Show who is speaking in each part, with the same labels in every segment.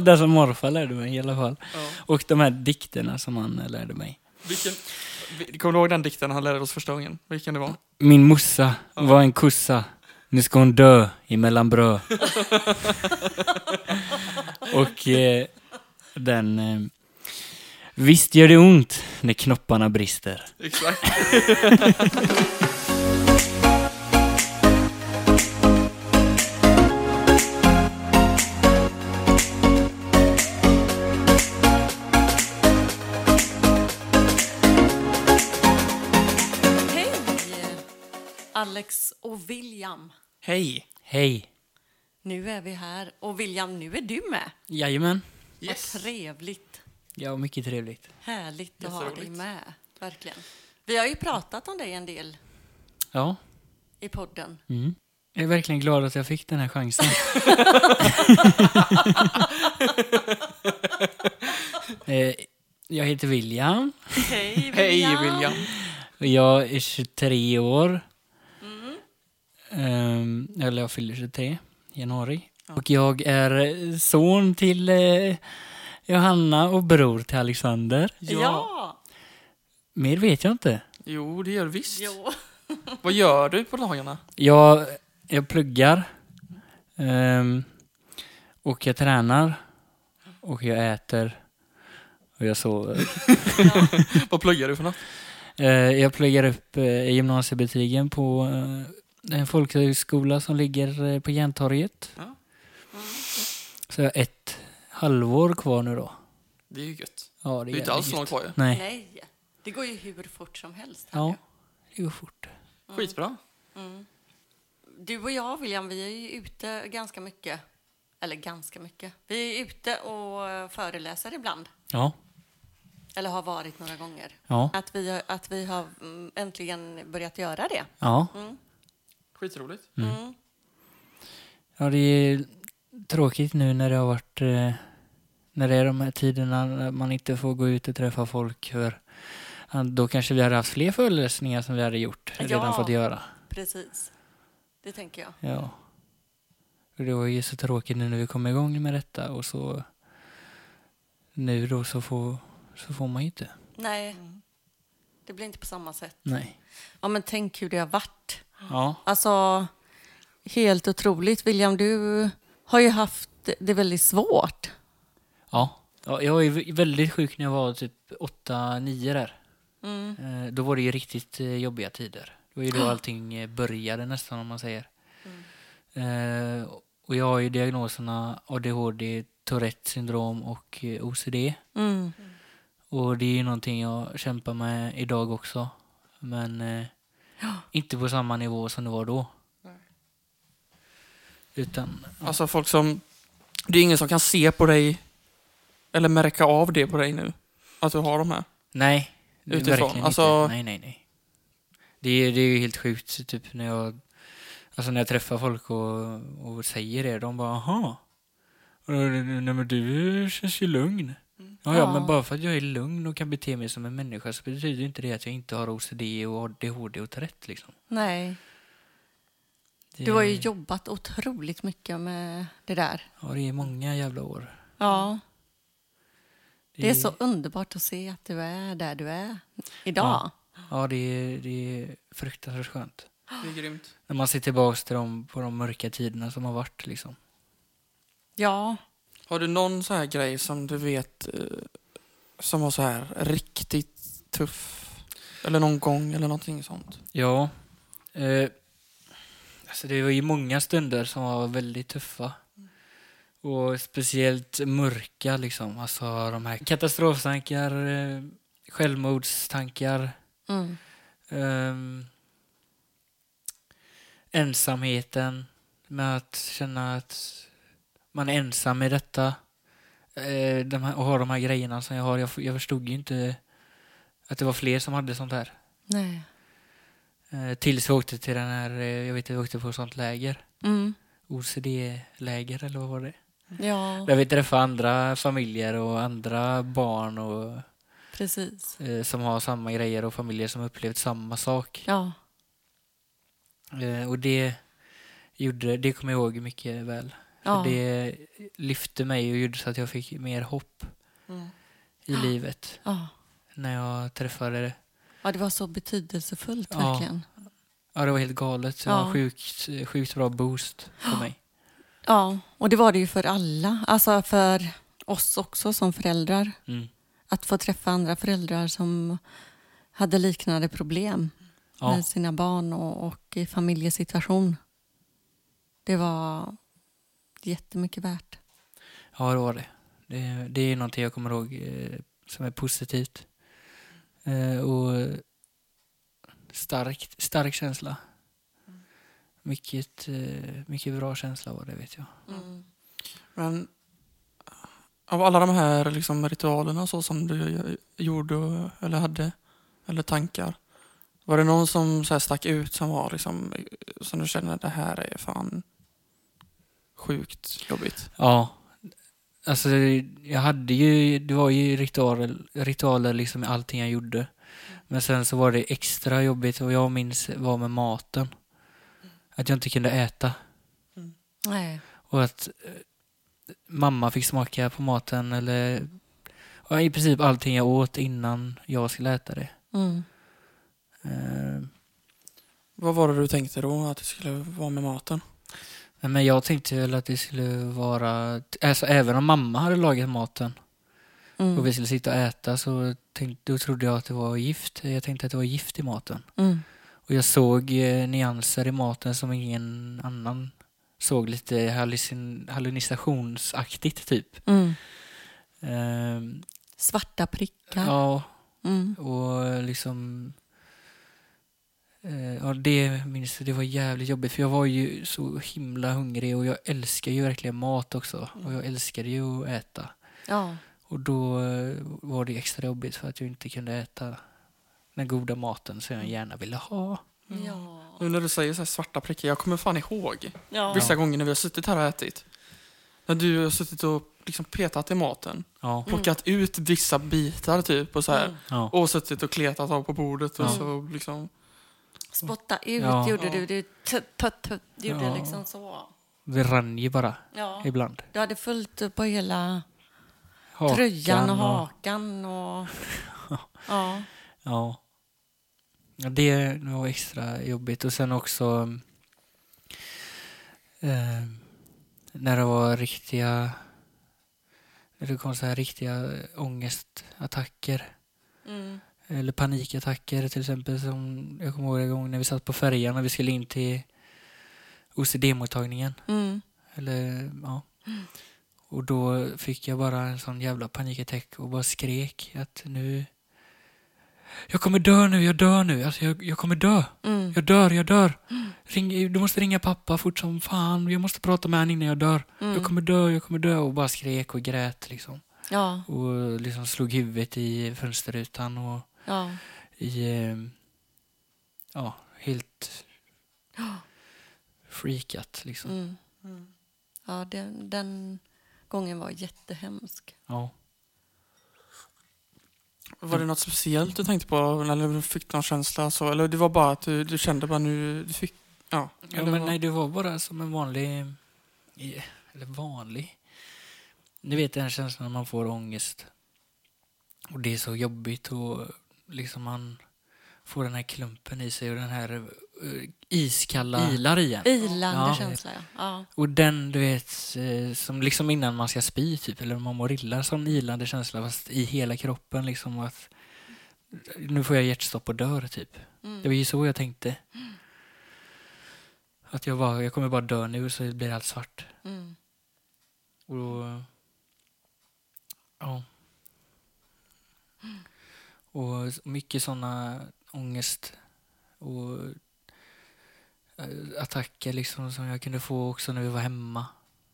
Speaker 1: Det som morfar lärde mig i alla fall. Och de här dikterna som han eh, lärde mig.
Speaker 2: Vilken, vi- kommer du ihåg den dikten han lärde oss första gången? Vilken det var?
Speaker 1: Min morsa var en kossa. Nu ska hon dö emellan bröd. och eh, den... Eh, Visst gör det ont när knopparna brister.
Speaker 2: Exakt.
Speaker 3: Hej! Alex och William.
Speaker 2: Hej!
Speaker 1: Hej.
Speaker 3: Nu är vi här. Och William, nu är du med.
Speaker 1: Jajamän.
Speaker 2: Yes.
Speaker 3: Vad trevligt.
Speaker 1: Ja, mycket trevligt.
Speaker 3: Härligt att ha dig
Speaker 2: Jätteroligt.
Speaker 3: med. Verkligen. Vi har ju pratat om dig en del
Speaker 1: Ja.
Speaker 3: i podden.
Speaker 1: Mm. Jag är verkligen glad att jag fick den här chansen. eh, jag heter William.
Speaker 3: Hej William!
Speaker 2: Hej William!
Speaker 1: Och Jag är 23 år. Ehm, eller jag fyller 23 i januari. Och jag är son till eh, Johanna och bror till Alexander.
Speaker 3: Ja!
Speaker 1: Mer vet jag inte.
Speaker 2: Jo, det gör du visst.
Speaker 3: Jo.
Speaker 2: Vad gör du på dagarna?
Speaker 1: Jag, jag pluggar. Ehm, och jag tränar. Och jag äter. Och jag sover.
Speaker 2: Vad pluggar du för något?
Speaker 1: Eh, jag pluggar upp eh, gymnasiebetygen på eh, en folkhögskola som ligger eh, på Järntorget.
Speaker 2: Ja. Mm,
Speaker 1: Så jag har ett halvår kvar nu då.
Speaker 2: Det är ju gött.
Speaker 1: Ja,
Speaker 2: Det
Speaker 1: det
Speaker 2: är ju inte
Speaker 1: jävligt
Speaker 2: alls så långt
Speaker 1: gött.
Speaker 2: kvar ju.
Speaker 1: Nej.
Speaker 3: Nej. Det går ju hur fort som helst. här
Speaker 1: Ja,
Speaker 3: nu.
Speaker 1: det går fort.
Speaker 2: Skitbra.
Speaker 3: Du och jag, William, vi är ju ute ganska mycket. Eller ganska mycket. Vi är ute och föreläser ibland.
Speaker 1: Ja,
Speaker 3: Eller har varit några gånger.
Speaker 1: ja,
Speaker 3: Att vi, har- att vi har mm, äntligen börjat göra det.
Speaker 1: ja.
Speaker 2: Skitroligt.
Speaker 3: Mm.
Speaker 1: Ja, det är tråkigt nu när det har varit eh, när det är de här tiderna när man inte får gå ut och träffa folk. För ja, då kanske vi hade haft fler föreläsningar som vi hade gjort,
Speaker 3: Ja.
Speaker 1: redan fått göra.
Speaker 3: Precis. Det tänker jag.
Speaker 1: Ja. Och Det var ju så tråkigt nu när vi kom igång med detta och så nu då så får, så får man ju inte.
Speaker 3: Nej, det blir inte på samma sätt.
Speaker 1: Nej.
Speaker 3: Ja, men tänk hur det har varit.
Speaker 1: Ja.
Speaker 3: Alltså, helt otroligt. William, du har ju haft det väldigt svårt.
Speaker 1: Ja. ja jag var ju v- väldigt sjuk när jag var typ 8-9 där.
Speaker 3: Mm.
Speaker 1: Eh, Då var det ju riktigt eh, jobbiga tider. Det var ju då allting eh, började nästan om man säger. Eh, Och jag har ju diagnoserna ADHD, Tourettes syndrom och eh, OCD.
Speaker 3: Mm.
Speaker 1: Och det är ju någonting jag kämpar med idag också. Men eh, inte på samma nivå som det var då. Utan,
Speaker 2: Alltså folk som... Det är ingen som kan se på dig eller märka av det på dig nu. Att du har de här.
Speaker 1: nej. det är
Speaker 2: Utifrån,
Speaker 1: Verkligen
Speaker 2: alltså-
Speaker 1: inte. Nej, nej, nej. Det är, det är ju helt sjukt typ när jag, alltså när jag träffar folk och, och säger det. De bara, aha. Och då är det, Nej men du känns ju lugn. Ja, ja,
Speaker 3: Ja.
Speaker 1: men bara för att jag är lugn och kan bete mig som en människa så betyder ju inte det att jag inte har OCD och ADHD och Tourette liksom.
Speaker 3: Nej,
Speaker 1: Det,
Speaker 3: du har ju jobbat otroligt mycket med det där.
Speaker 1: Ja, det är många jävla år.
Speaker 3: Ja, det är så underbart att se att du är där du är idag.
Speaker 1: Ja, det är, det är fruktansvärt skönt.
Speaker 2: Det är grymt.
Speaker 1: När man ser tillbaka till dem på de mörka tiderna som har varit liksom.
Speaker 3: Ja,
Speaker 2: Har du någon så här grej som du vet eh, som var så här riktigt tuff? Eller någon gång eller någonting sånt?
Speaker 1: Ja. Eh, alltså det var ju många stunder som var väldigt tuffa. Och speciellt mörka liksom. Alltså de här katastroftankar, eh, självmordstankar.
Speaker 3: mm.
Speaker 1: Ehm, ensamheten med att känna att man är ensam i detta. Eh, de här, och ha de här grejerna som jag har. Jag, f- jag förstod ju inte att det var fler som hade sånt här.
Speaker 3: nej.
Speaker 1: Eh, tills vi åkte till den här, eh, jag vet att vi åkte på sånt läger.
Speaker 3: Mm.
Speaker 1: OCD-läger eller vad var det?
Speaker 3: Ja,
Speaker 1: Där vi träffade andra familjer och andra barn och,
Speaker 3: precis.
Speaker 1: eh, som har samma grejer och familjer som upplevt samma sak.
Speaker 3: Ja,
Speaker 1: Eh, och det gjorde, det kommer jag ihåg mycket väl.
Speaker 3: Ja.
Speaker 1: För det lyfte mig och gjorde så att jag fick mer hopp
Speaker 3: Mm.
Speaker 1: i livet
Speaker 3: Ja.
Speaker 1: när jag träffade det.
Speaker 3: ja, det var så betydelsefullt
Speaker 1: Ja.
Speaker 3: verkligen.
Speaker 1: Ja, det var helt galet. Så Det var
Speaker 3: Ja.
Speaker 1: sjukt, sjukt bra boost för mig.
Speaker 3: Ja, och det var det ju för alla. Alltså för oss också som föräldrar.
Speaker 1: Mm.
Speaker 3: Att få träffa andra föräldrar som hade liknande problem
Speaker 1: Ja,
Speaker 3: med sina barn och, och i familjesituation. Det var jättemycket värt.
Speaker 1: ja, det var det. det. Det är någonting jag kommer ihåg eh, som är positivt. Eh, och starkt, stark känsla. Mycket, eh, mycket bra känsla var det, vet jag. Mm.
Speaker 2: Men eh, av alla de här liksom, ritualerna så som du gjorde och- eller hade, eller tankar. Var det någon som så här, stack ut som var liksom, som du kände det här är fan sjukt jobbigt?
Speaker 1: Ja. Alltså, jag hade ju, det var ju ritualer, ritualer liksom i allting jag gjorde. Men sen så var det extra jobbigt och jag minns var med maten. Att jag inte kunde äta.
Speaker 3: Nej.
Speaker 1: Och att eh, mamma fick smaka på maten eller ja, i princip allting jag åt innan jag skulle äta det.
Speaker 3: Mm.
Speaker 1: Eh,
Speaker 2: Vad var det du tänkte då att det skulle vara med maten?
Speaker 1: Men jag tänkte väl att det skulle vara, alltså även om mamma hade lagat maten och
Speaker 3: Mm.
Speaker 1: vi skulle sitta och äta så tänkte, då trodde jag att det var gift. Jag tänkte att det var gift i maten.
Speaker 3: Mm.
Speaker 1: Och jag såg eh, nyanser i maten som ingen annan såg. Lite hallucin, hallucinationsaktigt typ.
Speaker 3: Mm.
Speaker 1: Ehm,
Speaker 3: Svarta prickar.
Speaker 1: ja,
Speaker 3: Mm.
Speaker 1: och liksom... Eh, ja, det minns jag. Det var jävligt jobbigt för jag var ju så himla hungrig och jag älskar ju verkligen mat också. Och jag älskade ju att äta.
Speaker 3: Ja.
Speaker 1: Och då eh, var det extra jobbigt för att jag inte kunde äta den goda maten som jag gärna ville ha.
Speaker 3: Mm. Ja.
Speaker 2: Nu när du säger så här svarta prickar, jag kommer fan ihåg
Speaker 3: Ja.
Speaker 2: vissa gånger när vi har suttit här och ätit. När du har suttit och liksom petat i maten,
Speaker 1: Ja.
Speaker 2: plockat ut vissa bitar typ och så här.
Speaker 3: Mm.
Speaker 1: ja.
Speaker 2: Och suttit och kletat av på bordet och
Speaker 1: Ja.
Speaker 2: så liksom
Speaker 3: Spotta ut
Speaker 1: Ja.
Speaker 3: gjorde
Speaker 2: Ja.
Speaker 3: du. Du t- t- t- gjorde
Speaker 1: Ja.
Speaker 3: liksom så.
Speaker 1: Det rann ju bara
Speaker 3: Ja.
Speaker 1: ibland.
Speaker 3: Du hade fullt upp på hela
Speaker 1: Hakan
Speaker 3: tröjan och hakan. Och, ja.
Speaker 1: Ja. Ja, Det var extra jobbigt. Och sen också eh, när det var riktiga när det kom så här riktiga ångestattacker.
Speaker 3: Mm.
Speaker 1: Eller panikattacker till exempel. Som jag kommer ihåg en gång när vi satt på färjan och vi skulle in till OCD-mottagningen.
Speaker 3: Mm.
Speaker 1: Eller, ja. Och då fick jag bara en sån jävla panikattack och bara skrek att nu... Jag kommer dö nu, jag dör nu. Alltså jag, jag kommer dö.
Speaker 3: Mm.
Speaker 1: Jag dör, jag dör. Ring, du måste ringa pappa fort som fan. Jag måste prata med honom innan jag dör.
Speaker 3: Mm.
Speaker 1: Jag kommer dö, jag kommer dö. Och bara skrek och grät liksom.
Speaker 3: Ja.
Speaker 1: Och liksom slog huvudet i fönsterrutan och
Speaker 3: Ja.
Speaker 1: i... eh, Ja, helt... Freakat liksom.
Speaker 3: Mm. Ja, den, den gången var jättehemsk.
Speaker 1: Ja.
Speaker 2: Var det något speciellt du tänkte på eller du fick någon känsla så? Eller det var bara att du, du kände bara nu, du fick, ja.
Speaker 1: Ja,
Speaker 2: eller
Speaker 1: men
Speaker 2: vad?
Speaker 1: nej, det var bara som en vanlig... i- Eller vanlig... Ni vet den känslan när man får ångest. Och det är så jobbigt och liksom man får den här klumpen i sig och den här eh, iskalla... Ilar igen.
Speaker 3: Ilande
Speaker 1: Ja.
Speaker 3: känsla, ja. ja.
Speaker 1: Och den, du vet, eh, som liksom innan man ska spy typ, eller man mår illa, sån ilande känsla fast i hela kroppen liksom att nu får jag hjärtstopp och dör typ.
Speaker 3: Mm.
Speaker 1: Det var ju så jag tänkte. Att jag bara, jag kommer bara dö nu så blir allt svart.
Speaker 3: Mm.
Speaker 1: Och då, ja. Och s- mycket sådana ångest och eh, attacker liksom som jag kunde få också när vi var hemma.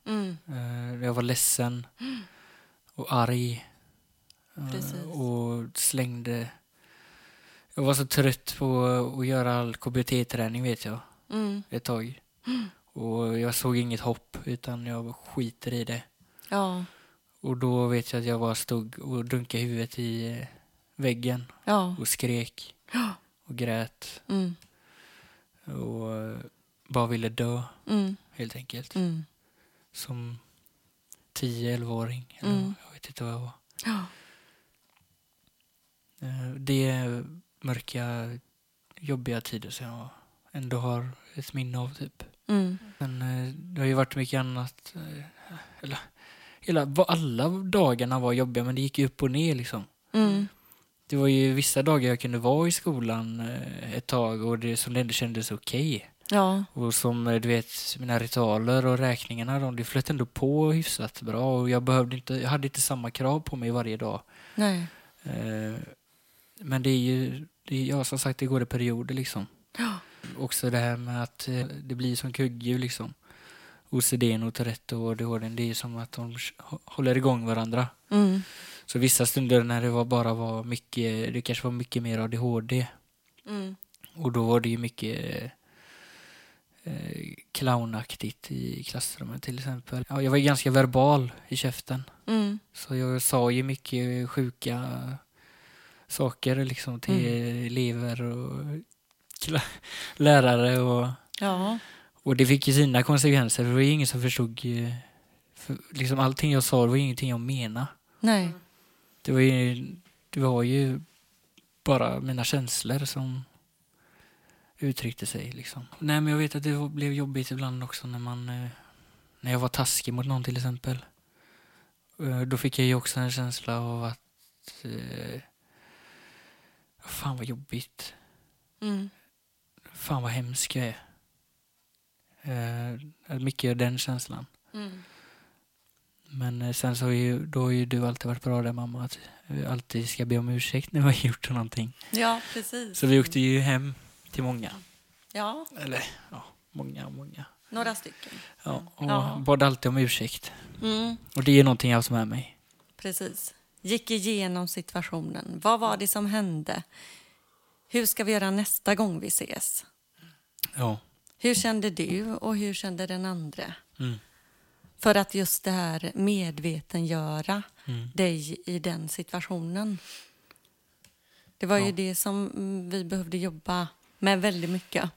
Speaker 3: Mm.
Speaker 1: Eh, Jag var ledsen och arg. Eh,
Speaker 3: Precis.
Speaker 1: Och slängde... Jag var så trött på att göra all KBT-träning vet jag,
Speaker 3: Mm.
Speaker 1: ett tag. Och jag såg inget hopp utan jag skiter i det.
Speaker 3: Ja.
Speaker 1: Och då vet jag att jag bara stod och dunkade huvudet i eh, väggen
Speaker 3: Ja.
Speaker 1: och skrek och grät
Speaker 3: Mm.
Speaker 1: och eh, bara ville dö
Speaker 3: Mm.
Speaker 1: helt enkelt.
Speaker 3: Mm.
Speaker 1: som 10-11-åring. eller
Speaker 3: Mm.
Speaker 1: Jag vet inte vad jag var.
Speaker 3: Ja.
Speaker 1: Eh, Det är mörka, jobbiga tider som jag ändå har ett minne av. Typ.
Speaker 3: Mm.
Speaker 1: Men eh, det har ju varit mycket annat. eh, Eller, hela, va- alla dagarna var jobbiga men det gick ju upp och ner liksom.
Speaker 3: Mm.
Speaker 1: Det var ju vissa dagar jag kunde vara i skolan eh, ett tag och det som det ändå kändes okej.
Speaker 3: Ja.
Speaker 1: Och som eh, du vet, mina ritualer och räkningarna, de, det flöt ändå på hyfsat bra och jag behövde inte, jag hade inte samma krav på mig varje dag.
Speaker 3: Nej.
Speaker 1: Eh, Men det är ju, det är, ja som sagt, det går i perioder liksom.
Speaker 3: Ja.
Speaker 1: Också det här med att eh, det blir som kugghjul liksom. OCDn och Tourette och ADHD, det är ju som att de hå- håller igång varandra.
Speaker 3: Mm.
Speaker 1: Så vissa stunder när det var bara var mycket, det kanske var mycket mer ADHD
Speaker 3: Mm.
Speaker 1: och då var det ju mycket eh, eh, clownaktigt i klassrummet till exempel. Ja, jag var ju ganska verbal i käften.
Speaker 3: Mm.
Speaker 1: Så jag sa ju mycket sjuka saker liksom till elever och kla- lärare och,
Speaker 3: Ja.
Speaker 1: och det fick ju sina konsekvenser. Det var ju ingen som förstod eh, för, liksom allting jag sa det var ju ingenting jag menade.
Speaker 3: Nej.
Speaker 1: Det var ju, det var ju bara mina känslor som uttryckte sig liksom. Nej men jag vet att det var- blev jobbigt ibland också när man eh, när jag var taskig mot någon till exempel. Eh, Då fick jag ju också en känsla av att eh, fan vad jobbigt.
Speaker 3: Mm.
Speaker 1: Fan vad hemsk jag är. Eh, Mycket den känslan.
Speaker 3: Mm.
Speaker 1: Men eh, sen så har ju, då har ju du alltid varit bra där mamma, att vi alltid ska be om ursäkt när vi har gjort någonting.
Speaker 3: Ja, precis.
Speaker 1: Så vi åkte ju hem till många.
Speaker 3: Ja,
Speaker 1: Eller ja, många, många.
Speaker 3: några stycken.
Speaker 1: Ja, och
Speaker 3: Ja.
Speaker 1: bad alltid om ursäkt.
Speaker 3: Mm.
Speaker 1: Och det är någonting jag har haft med mig.
Speaker 3: Precis. Gick igenom situationen. Vad var det som hände? Hur ska vi göra nästa gång vi ses?
Speaker 1: Ja.
Speaker 3: Hur kände du och hur kände den andra?
Speaker 1: Mm.
Speaker 3: För att just det här medvetengöra
Speaker 1: Mm.
Speaker 3: dig i den situationen. Det var ju
Speaker 1: Ja.
Speaker 3: det som mm, vi behövde jobba med väldigt mycket.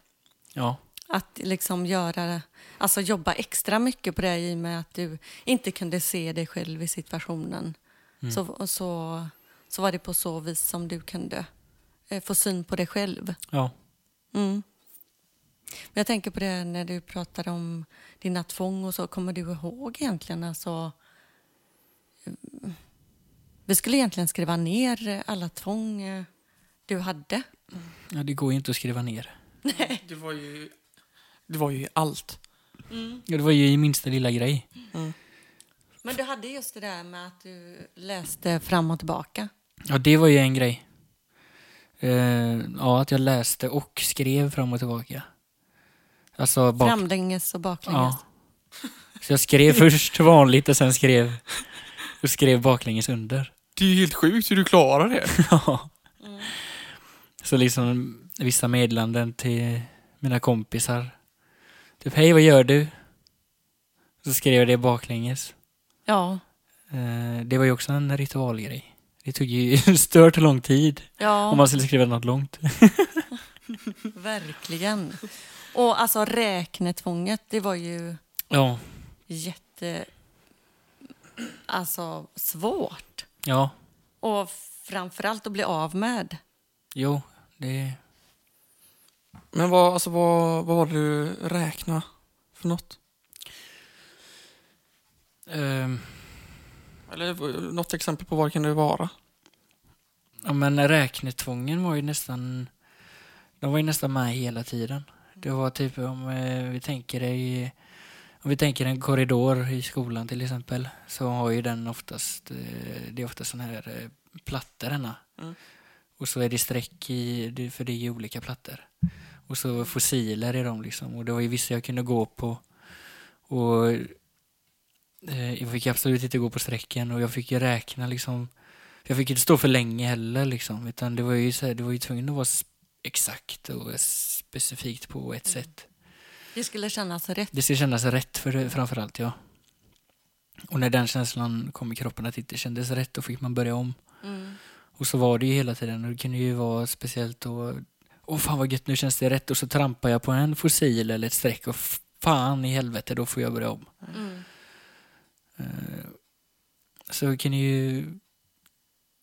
Speaker 1: Ja.
Speaker 3: Att liksom göra, alltså jobba extra mycket på det i och med att du inte kunde se dig själv i situationen. Så, och så, så var det på så vis som du kunde eh, få syn på dig själv.
Speaker 1: Ja.
Speaker 3: Mm. Men jag tänker på det när du pratade om dina tvång och så. Kommer du ihåg egentligen? Alltså, eh, vi skulle egentligen skriva ner eh, alla tvång eh, du hade.
Speaker 1: ja, det går ju inte att skriva ner.
Speaker 2: Det var ju, det var ju allt.
Speaker 1: Ja, det var ju i minsta lilla grej.
Speaker 3: Men du hade just det där med att du läste fram och tillbaka.
Speaker 1: Ja, det var ju en grej. Eh, ja, att jag läste och skrev fram och tillbaka. Alltså bak
Speaker 3: Framlänges och baklänges.
Speaker 1: Så jag skrev först vanligt och sen skrev, och skrev baklänges under.
Speaker 2: Det är ju helt sjukt hur du klarar det.
Speaker 1: Ja.
Speaker 3: Mm.
Speaker 1: Så liksom vissa meddelanden till mina kompisar. Typ, hej vad gör du? Så skrev jag det baklänges.
Speaker 3: Ja.
Speaker 1: Eh, Det var ju också en ritualgrej. Det tog ju stört lång tid
Speaker 3: Ja,
Speaker 1: om man skulle skriva något långt.
Speaker 3: verkligen. Och alltså räknetvånget, det var ju
Speaker 1: Ja,
Speaker 3: jätte... Alltså svårt.
Speaker 1: ja,
Speaker 3: Och framförallt att bli av med.
Speaker 1: jo, det...
Speaker 2: Men vad, alltså, vad, vad var det du räkna för något?
Speaker 1: ehm,
Speaker 2: Eller v- något exempel på vad det kunde vara?
Speaker 1: Ja men räknetvången var ju nästan, de var ju nästan med hela tiden. Det var typ om eh, vi tänker i, om vi tänker en korridor i skolan till exempel så har ju den oftast, eh, det är oftast sådana här eh, plattor denna.
Speaker 2: Mm.
Speaker 1: Och så är det streck i, det- för det är ju olika plattor. Och så fossiler i dem liksom och det var ju vissa jag kunde gå på och eh, jag fick absolut inte gå på strecken och jag fick ju räkna liksom jag fick inte stå för länge heller liksom, utan det var ju så här, det var ju tvungen att vara s- exakt och specifikt på ett
Speaker 2: Mm.
Speaker 1: sätt.
Speaker 3: Det skulle kännas rätt.
Speaker 1: Det ska kännas rätt för det, framförallt, ja. Och när den känslan kom i kroppen att det inte kändes rätt, då fick man börja om.
Speaker 3: Mm.
Speaker 1: Och så var det ju hela tiden och det kunde ju vara speciellt och åh fan vad gött, nu känns det rätt och så trampar jag på en fossil eller ett streck och f- fan i helvete, då får jag börja om.
Speaker 3: Mm.
Speaker 1: Eh, Så kan ni ju...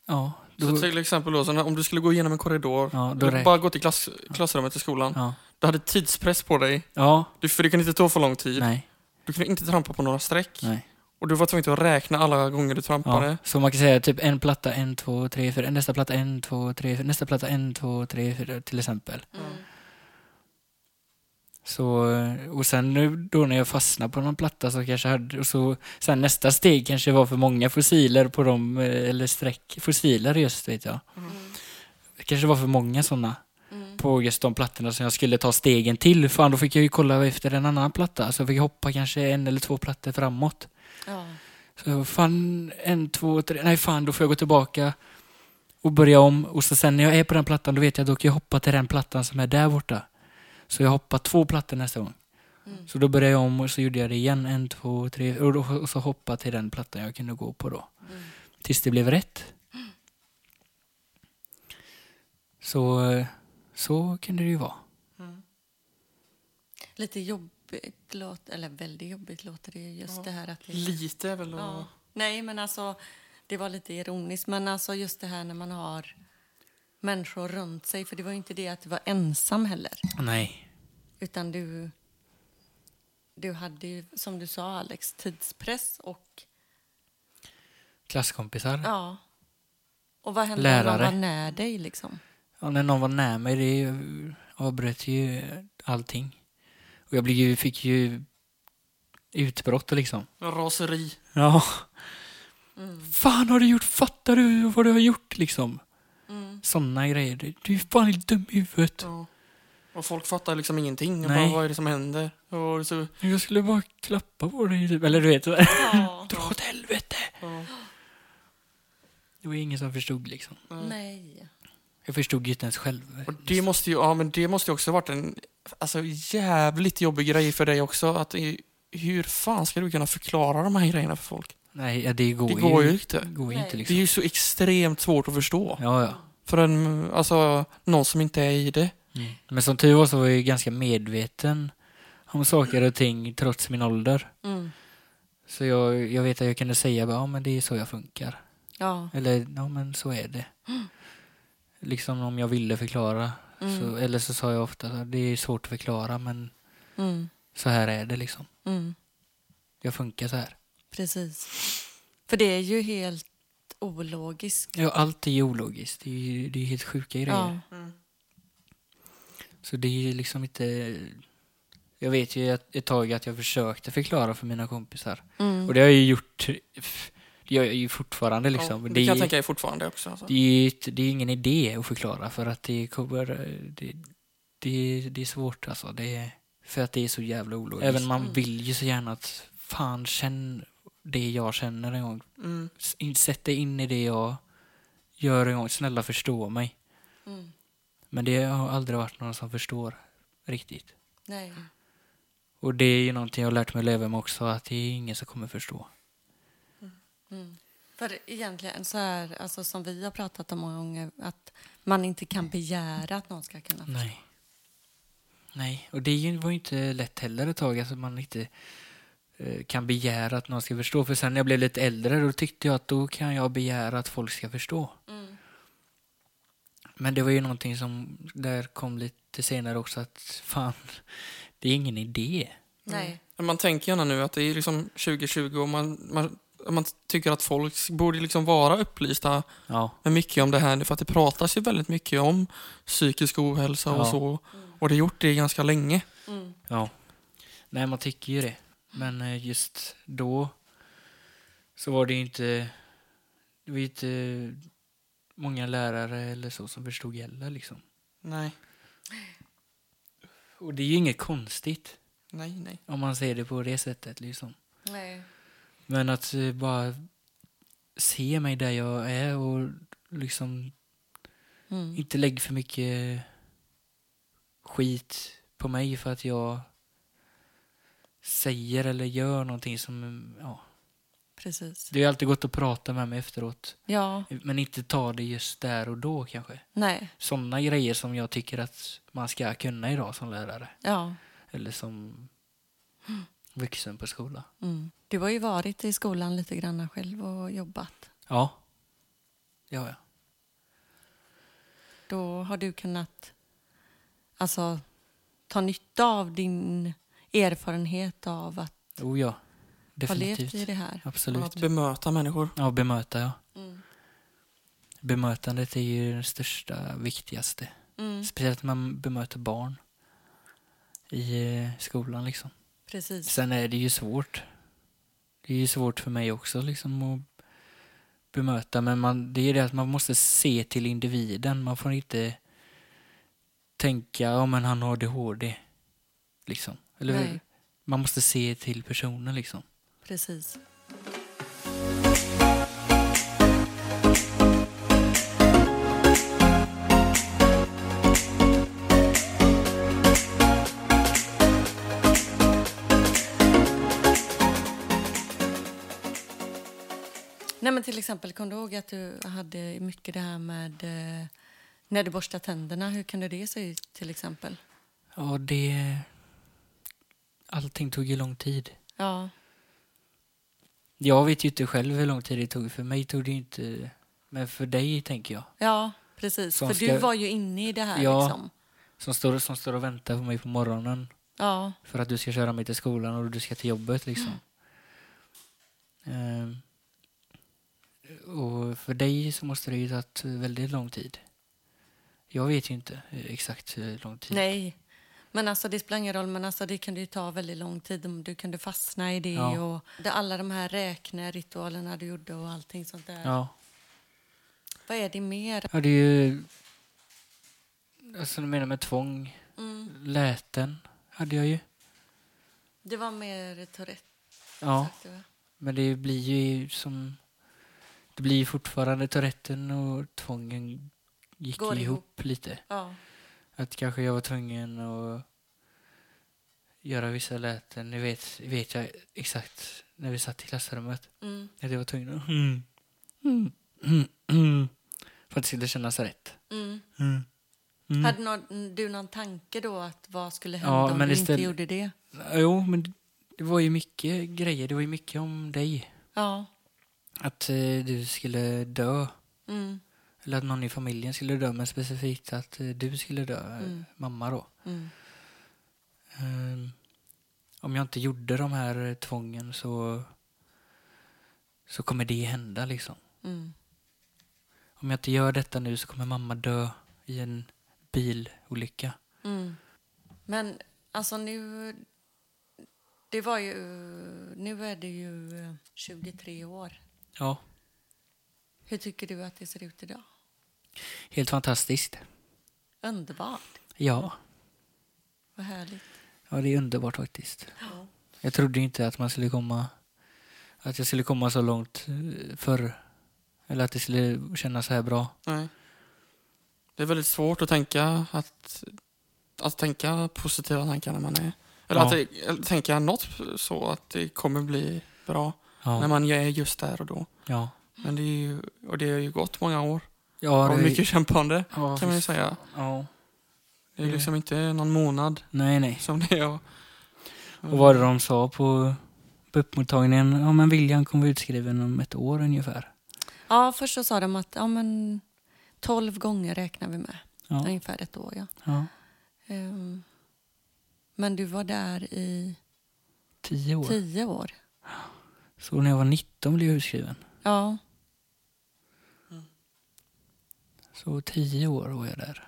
Speaker 1: Ja,
Speaker 2: Så
Speaker 1: då,
Speaker 2: till exempel då, så när, om du skulle gå igenom en korridor,
Speaker 1: ja, då
Speaker 2: du
Speaker 1: räknar
Speaker 2: bara gå till klass, klassrummet i skolan.
Speaker 1: ja.
Speaker 2: Du hade tidspress på dig,
Speaker 1: ja,
Speaker 2: du, för det kunde inte ta för lång tid.
Speaker 1: nej,
Speaker 2: Du kunde inte trampa på några streck.
Speaker 1: nej.
Speaker 2: Och du var tvungen att räkna alla gånger du trampade.
Speaker 1: Ja. Så man kan säga typ en platta, en, två, tre, fyra, nästa platta, en, två, tre, fyra, nästa platta, en, två, tre, fyra, till exempel.
Speaker 3: Mm.
Speaker 1: Så, eh, och sen nu då när jag fastnade på någon platta så kanske jag hade, och så, sen nästa steg kanske var för många fossiler på dem, eh, eller streck, fossiler just vet jag.
Speaker 3: Mm.
Speaker 1: Det kanske var för många sådana
Speaker 3: Mm.
Speaker 1: på just de plattorna som jag skulle ta stegen till. Fan, då fick jag ju kolla efter en annan platta. Så jag fick hoppa kanske en eller två plattor framåt.
Speaker 3: Ja.
Speaker 1: Så fan, en, två, tre, nej fan, då får jag gå tillbaka och börja om. Och så sen när jag är på den plattan, då vet jag att då kan jag hoppa till den plattan som är där borta. Så jag hoppar två plattor nästa gång.
Speaker 3: Mm.
Speaker 1: Så då började jag om och så gjorde jag det igen, en, två, tre, och, då, och så hoppade till den plattan jag kunde gå på då.
Speaker 3: Mm.
Speaker 1: Tills det blev rätt. Så, eh, så kunde det ju vara.
Speaker 3: Lite jobbigt, låt, eller väldigt jobbigt låter det ju just det här att det
Speaker 2: Lite är väl att-
Speaker 3: Ja. Nej, men alltså, det var lite ironiskt. Men alltså just det här när man har människor runt sig. För det var ju inte det att du var ensam heller.
Speaker 1: Nej.
Speaker 3: Utan du, du hade ju, som du sa Alex, tidspress och
Speaker 1: Klasskompisar.
Speaker 2: Mm.
Speaker 1: Ja.
Speaker 3: ja. Och vad hände om
Speaker 1: Lärare.
Speaker 3: man var när dig liksom?
Speaker 1: när någon var nära mig, det avbröt ju allting. Och jag blev ju, fick ju utbrott liksom.
Speaker 2: Raseri.
Speaker 1: Ja.
Speaker 3: Mm.
Speaker 1: Fan har du gjort? Fattar du vad du har gjort liksom?
Speaker 3: Mm.
Speaker 1: Sådana grejer. Du du är fan helt dum i huvudet.
Speaker 2: Ja. Och folk fattar liksom ingenting. Och
Speaker 1: Nej.
Speaker 2: bara, vad är det som händer? Och så,
Speaker 3: Mm.
Speaker 1: Jag skulle bara klappa på dig typ. Eller du vet. så-
Speaker 3: Ja.
Speaker 1: Dra åt helvete.
Speaker 2: ja.
Speaker 1: Det var ju ingen som förstod liksom.
Speaker 3: Nej.
Speaker 1: Jag förstod ju inte ens själv.
Speaker 2: Och det måste ju, ja men det måste ju också varit en alltså, jävligt jobbig grej för dig också. Att, i- hur fan ska du kunna förklara de här grejerna för folk?
Speaker 1: Nej, ja, det går,
Speaker 2: Det går ju
Speaker 1: Det
Speaker 2: inte.
Speaker 1: går ju inte
Speaker 2: Det
Speaker 3: Nej.
Speaker 2: är
Speaker 1: liksom.
Speaker 2: ju så extremt svårt att förstå.
Speaker 1: Ja, ja.
Speaker 2: För en, alltså, någon som inte är i det.
Speaker 1: Mm. Men som tur var så var jag ju ganska medveten om saker och ting trots min ålder.
Speaker 3: Mm.
Speaker 1: Så jag, jag vet att jag kunde säga bara, ja men det är så jag funkar.
Speaker 3: Ja.
Speaker 1: Eller, ja men så är det. Liksom om jag ville förklara.
Speaker 3: Mm.
Speaker 1: Så, eller så sa jag ofta, så här, det är svårt att förklara men
Speaker 3: Mm.
Speaker 1: så här är det liksom.
Speaker 3: Mm.
Speaker 1: Jag funkar så här.
Speaker 3: Precis. För det är ju helt ologiskt.
Speaker 1: Ja, allt är ju ologiskt. Det är ju det är helt sjuka grejer.
Speaker 3: Ja.
Speaker 2: Mm.
Speaker 1: Så det är ju liksom inte... Jag vet ju att- ett tag att jag försökte förklara för mina kompisar.
Speaker 3: Mm.
Speaker 1: Och det har jag ju gjort... Det gör jag ju fortfarande liksom.
Speaker 2: Ja, det
Speaker 1: det,
Speaker 2: kan jag
Speaker 1: är,
Speaker 2: tänka är fortfarande också. Alltså.
Speaker 1: det, är ju ett- det är ingen idé att förklara för att det kommer... Det, det, det är svårt alltså. Det, är- för att det är så jävla ologiskt. Även man
Speaker 3: Mm.
Speaker 1: vill ju så gärna att fan känn det jag känner en gång.
Speaker 2: Mm.
Speaker 1: S- in- Sätt dig in i det jag gör en gång. Snälla förstå mig.
Speaker 3: Mm.
Speaker 1: Men det har aldrig varit någon som förstår riktigt.
Speaker 3: Nej.
Speaker 1: Och det är ju någonting jag har lärt mig att leva med också, att det är ingen som kommer förstå.
Speaker 3: Mm. För egentligen så här, alltså som vi har pratat om många gånger, att man inte kan begära att någon ska kunna förstå.
Speaker 1: Nej. Nej, och det är ju- var ju inte lätt heller ett tag, alltså man inte eh, kan begära att någon ska förstå. För sen när jag blev lite äldre då tyckte jag att då kan jag begära att folk ska förstå.
Speaker 3: Mm.
Speaker 1: Men det var ju någonting som där kom lite senare också att fan, det är ingen idé.
Speaker 3: Nej.
Speaker 2: Men Man tänker gärna nu att det är liksom 2020 och man, man, man tycker att folk borde liksom vara upplysta
Speaker 1: Ja,
Speaker 2: med mycket om det här nu för att det pratas ju väldigt mycket om psykisk ohälsa och
Speaker 1: Ja.
Speaker 2: så. Och det har gjort det ganska länge.
Speaker 3: Mm.
Speaker 1: Ja. Nej, man tycker ju det. Men eh, just då så var det ju inte, det var ju inte många lärare eller så som förstod heller liksom.
Speaker 2: Nej,
Speaker 1: Och det är ju inget konstigt
Speaker 2: nej, nej.
Speaker 1: om man ser det på det sättet liksom.
Speaker 3: Nej.
Speaker 1: Men att eh, bara se mig där jag är och liksom
Speaker 3: Mm.
Speaker 1: inte lägga för mycket skit på mig för att jag säger eller gör någonting som, ja,
Speaker 3: Precis.
Speaker 1: Det är ju alltid gott att prata med mig efteråt.
Speaker 3: Ja.
Speaker 1: Men inte ta det just där och då kanske.
Speaker 3: Nej.
Speaker 1: Sådana grejer som jag tycker att man ska kunna idag som lärare.
Speaker 3: Ja.
Speaker 1: Eller som vuxen på skola.
Speaker 3: Mm. Du har ju varit i skolan lite grann själv och jobbat.
Speaker 1: Ja, det har jag.
Speaker 3: Då har du kunnat alltså, ta nytta av din erfarenhet av att
Speaker 1: Oh ja,
Speaker 3: ha levt i
Speaker 1: definitivt.
Speaker 3: det här.
Speaker 1: Absolut.
Speaker 2: Att bemöta människor.
Speaker 1: Ja, bemöta ja.
Speaker 3: Mm.
Speaker 1: Bemötandet är ju det största, viktigaste.
Speaker 3: Mm.
Speaker 1: Speciellt när man bemöter barn i eh, skolan liksom.
Speaker 3: Precis.
Speaker 1: Sen är det ju svårt. Det är ju svårt för mig också liksom att bemöta. Men man, det är det att man måste se till individen. Man får inte tänka, ja men han har ADHD. Liksom. Eller,
Speaker 3: Nej,
Speaker 1: Man måste se till personen liksom.
Speaker 3: precis. Nej, men till exempel, kom du ihåg att du hade mycket det här med eh, när du borstar tänderna? Hur kunde det se ut till exempel?
Speaker 1: Ja, det... Allting tog ju lång tid.
Speaker 3: Ja,
Speaker 1: Jag vet ju inte själv hur lång tid det tog. För mig tog det ju inte... Men för dig, tänker jag.
Speaker 3: ja precis.
Speaker 1: Som
Speaker 3: För
Speaker 1: ska-
Speaker 3: du var ju inne i det här.
Speaker 1: Ja.
Speaker 3: Liksom.
Speaker 1: Som står, som står och väntar på mig på morgonen.
Speaker 3: Ja,
Speaker 1: För att du ska köra mig till skolan och du ska till jobbet liksom. Ehm, och för dig så måste det ju tagit väldigt lång tid. Jag vet ju inte eh, exakt hur lång tid.
Speaker 3: nej. Men alltså det spelar ingen roll, men alltså det kunde ju ta väldigt lång tid om du kunde fastna i det
Speaker 1: Ja.
Speaker 3: och det, alla de här räkneritualerna du gjorde och allting sånt där.
Speaker 1: Ja.
Speaker 3: Vad är det mer?
Speaker 1: Ja, det är ju... Alltså, du menar med tvång? Läten hade jag ju.
Speaker 3: Mm. Det var mer Tourette.
Speaker 1: Ja,
Speaker 3: sagt du, va?
Speaker 1: men det blir ju som... Det blir ju fortfarande Touretten och tvången gick
Speaker 3: Går
Speaker 1: ihop,
Speaker 3: ihop.
Speaker 1: lite.
Speaker 3: Ja.
Speaker 1: Att kanske jag var tvungen att göra vissa läten. Det vet, vet jag exakt när vi satt i klassrummet.
Speaker 3: Mm.
Speaker 1: Att jag var tvungen att... Mm. Mm. Mm. Mm. För att det skulle kännas rätt.
Speaker 3: Mm.
Speaker 1: Mm. Mm.
Speaker 3: Hade nå- du någon tanke då att vad skulle hända
Speaker 1: Ja,
Speaker 3: om
Speaker 1: men
Speaker 3: du
Speaker 1: istället-
Speaker 3: inte gjorde det?
Speaker 1: Jo, men det var ju mycket grejer. Det var ju mycket om dig.
Speaker 3: Ja.
Speaker 1: Att eh, du skulle dö.
Speaker 3: Mm.
Speaker 1: Eller att någon i familjen skulle dö, men specifikt att eh, du skulle dö, eh,
Speaker 3: Mm.
Speaker 1: mamma då.
Speaker 3: Mm.
Speaker 1: Ehm, om jag inte gjorde de här eh, tvången så, så kommer det hända liksom.
Speaker 3: Mm.
Speaker 1: Om jag inte gör detta nu så kommer mamma dö i en bilolycka.
Speaker 3: Mm. Men alltså nu... Det var ju... Nu är det ju 23 år.
Speaker 1: Ja,
Speaker 3: Hur tycker du att det ser ut idag?
Speaker 1: helt fantastiskt.
Speaker 3: Underbart.
Speaker 1: Ja,
Speaker 3: Vad härligt.
Speaker 1: ja det är underbart faktiskt. Jag trodde ju inte att man skulle komma att jag skulle komma så långt eh, förr. Eller att det skulle kännas så här bra.
Speaker 2: Nej. Det är väldigt svårt att tänka att, att tänka positiva tankar när man är... Eller
Speaker 1: Ja.
Speaker 2: att det, eller tänka något så att det kommer bli bra när
Speaker 1: Ja,
Speaker 2: man är just där och då.
Speaker 1: ja.
Speaker 2: Men det är ju, och det har ju gått många år
Speaker 1: ja
Speaker 2: och
Speaker 1: det-
Speaker 2: mycket kämpande
Speaker 1: ja,
Speaker 2: kan man ju säga.
Speaker 1: ja.
Speaker 2: Det är
Speaker 1: Det-
Speaker 2: liksom inte någon månad
Speaker 1: Nej, nej.
Speaker 2: som det är. Och,
Speaker 1: Och vad var det de sa på, på uppmottagningen? Ja, men William kommer vara utskriven om ett år ungefär.
Speaker 3: Ja, först så sa de att ja, men, 12 gånger räknar vi med.
Speaker 1: Ja,
Speaker 3: Ungefär ett år, ja.
Speaker 1: ja.
Speaker 3: Ehm, men du var där i
Speaker 1: Tio år.
Speaker 3: 10 år.
Speaker 1: Så när jag var 19 blev jag utskriven.
Speaker 3: Ja.
Speaker 1: Så tio år var jag där.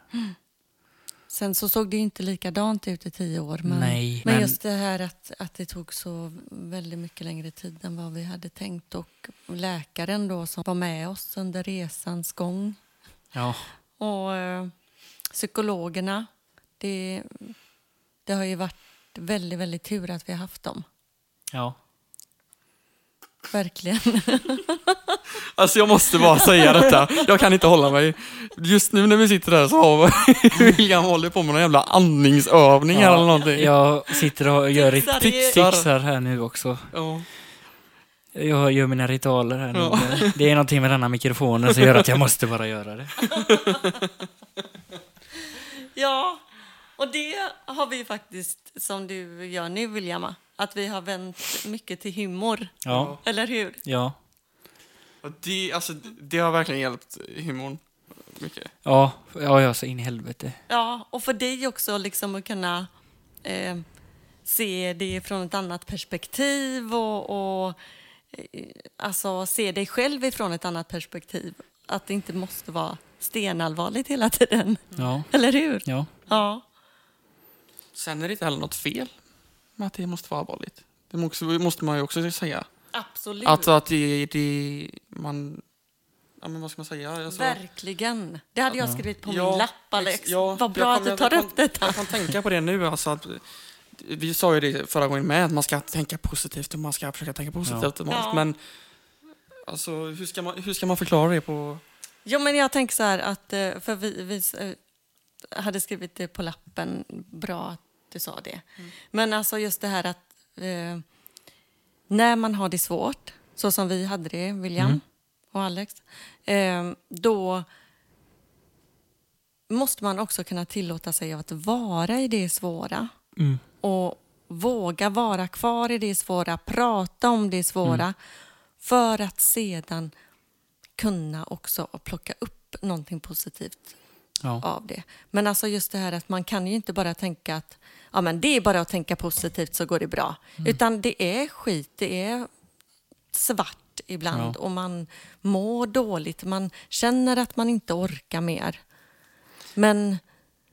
Speaker 3: Sen så såg det ju inte likadant ut i 10 år. Men,
Speaker 1: Nej,
Speaker 3: men
Speaker 1: men-
Speaker 3: just det här att, att det tog så väldigt mycket längre tid än vad vi hade tänkt. Och läkaren då som var med oss under resans gång.
Speaker 1: Ja,
Speaker 3: Och eh, psykologerna, det, det har ju varit väldigt, väldigt tur att vi har haft dem.
Speaker 1: ja.
Speaker 3: Verkligen.
Speaker 2: Alltså jag måste bara säga detta. Jag kan inte hålla mig. Just nu när vi sitter där så har William håller på med någon jävla andningsövning här eller någonting.
Speaker 1: Jag sitter och gör
Speaker 3: Fixar
Speaker 1: rit-
Speaker 3: det.
Speaker 1: fixar här nu också.
Speaker 2: Ja.
Speaker 1: Jag gör mina ritualer här nu.
Speaker 2: Ja.
Speaker 1: Det är någonting med denna mikrofonen som gör att jag måste bara göra det.
Speaker 3: ja, och det har vi faktiskt, som du gör nu William, att vi har vänt mycket till humor.
Speaker 1: Ja.
Speaker 3: Eller hur?
Speaker 1: Ja.
Speaker 2: Och Det, alltså, det har verkligen hjälpt humorn mycket.
Speaker 1: Ja, ja, ja så in i helvete.
Speaker 3: Ja, och för dig också liksom att kunna eh, se det från ett annat perspektiv och, och eh, alltså se dig själv ifrån ett annat perspektiv. Att det inte måste vara stenallvarligt hela tiden.
Speaker 1: Ja.
Speaker 3: Eller hur?
Speaker 1: Ja.
Speaker 3: Ja.
Speaker 2: Sen är det inte heller något fel med att det måste vara allvarligt. Det måste, måste man ju också säga. Alltså
Speaker 3: Absolut.
Speaker 2: Att, att det, det man... Ja, men vad ska man säga? Alltså,
Speaker 3: Verkligen. Det hade jag skrivit på
Speaker 2: Ja,
Speaker 3: min lapp, Alex.
Speaker 2: ex- ja,
Speaker 3: Vad bra
Speaker 2: jag
Speaker 3: att du
Speaker 2: kommer-
Speaker 3: tar
Speaker 2: jag
Speaker 3: upp
Speaker 2: kom-
Speaker 3: detta.
Speaker 2: Jag kan tänka på det nu. Alltså, att, vi sa ju det förra gången med, att man ska tänka positivt och man ska försöka tänka positivt om allt.
Speaker 3: Ja.
Speaker 2: Men alltså, hur, ska man, hur ska man förklara det på...
Speaker 3: Jo, men jag tänker så här att, eh, för vi, vi eh, hade skrivit det på lappen, bra att du sa det. Men alltså just det här att eh, när man har det svårt, så som vi hade det, William och Alex, eh, då måste man också kunna tillåta sig att vara i det svåra.
Speaker 1: Mm.
Speaker 3: Och våga vara kvar i det svåra, prata om det svåra, för att sedan kunna också plocka upp någonting positivt
Speaker 1: Ja.
Speaker 3: av det. Men alltså just det här att man kan ju inte bara tänka att ja, men det är bara att tänka positivt så går det bra. Utan det är skit, det är svart ibland
Speaker 1: Ja.
Speaker 3: och man mår dåligt. Man känner att man inte orkar mer. Men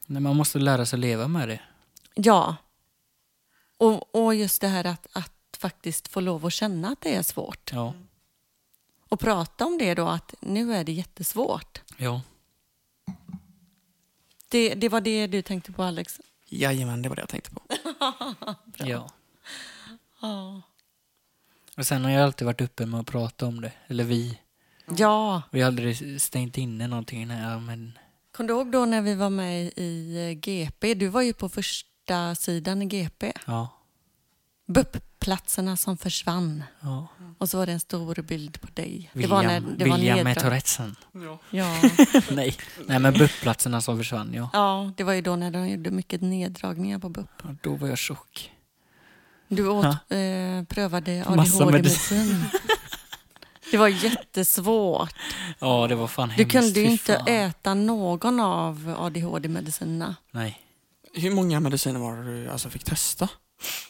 Speaker 1: Nej, man måste lära sig att leva med det.
Speaker 3: ja, och, och just det här att, att faktiskt få lov att känna att det är svårt.
Speaker 1: Ja.
Speaker 3: Och prata om det då att nu är det jättesvårt.
Speaker 1: Ja.
Speaker 3: Det, det var det du tänkte på Alex?
Speaker 2: Jajamän, det var det jag tänkte på.
Speaker 1: ja.
Speaker 3: Ja.
Speaker 1: Och sen har jag alltid varit öppen med att prata om det. Eller vi.
Speaker 3: Ja.
Speaker 1: Vi har aldrig stängt inne någonting. Nej, ja, men...
Speaker 3: Kom du ihåg då när vi var med i eh, GP? Du var ju på första sidan i GP.
Speaker 1: Ja.
Speaker 3: BUP-platserna som försvann.
Speaker 1: ja.
Speaker 3: Och så var det en stor bild på dig.
Speaker 1: William,
Speaker 3: Mm. det var när det var
Speaker 1: William med
Speaker 3: neddrag-
Speaker 1: Tourettesen.
Speaker 2: Ja.
Speaker 3: ja.
Speaker 1: Nej. Nej, men bupplatserna som försvann, ja.
Speaker 3: ja, det var ju då när de gjorde mycket neddragningar på BUP.
Speaker 1: ja. Då var jag tjock.
Speaker 3: Du åt, eh, prövade
Speaker 1: Massa
Speaker 3: ADHD-medicin. Det var jättesvårt.
Speaker 1: Ja, det var fan
Speaker 3: Du
Speaker 1: hemskt.
Speaker 3: kunde ju
Speaker 1: fy
Speaker 3: inte
Speaker 1: fan.
Speaker 3: äta någon av ADHD-medicinerna.
Speaker 1: Nej.
Speaker 2: Hur många mediciner var det du alltså, fick testa?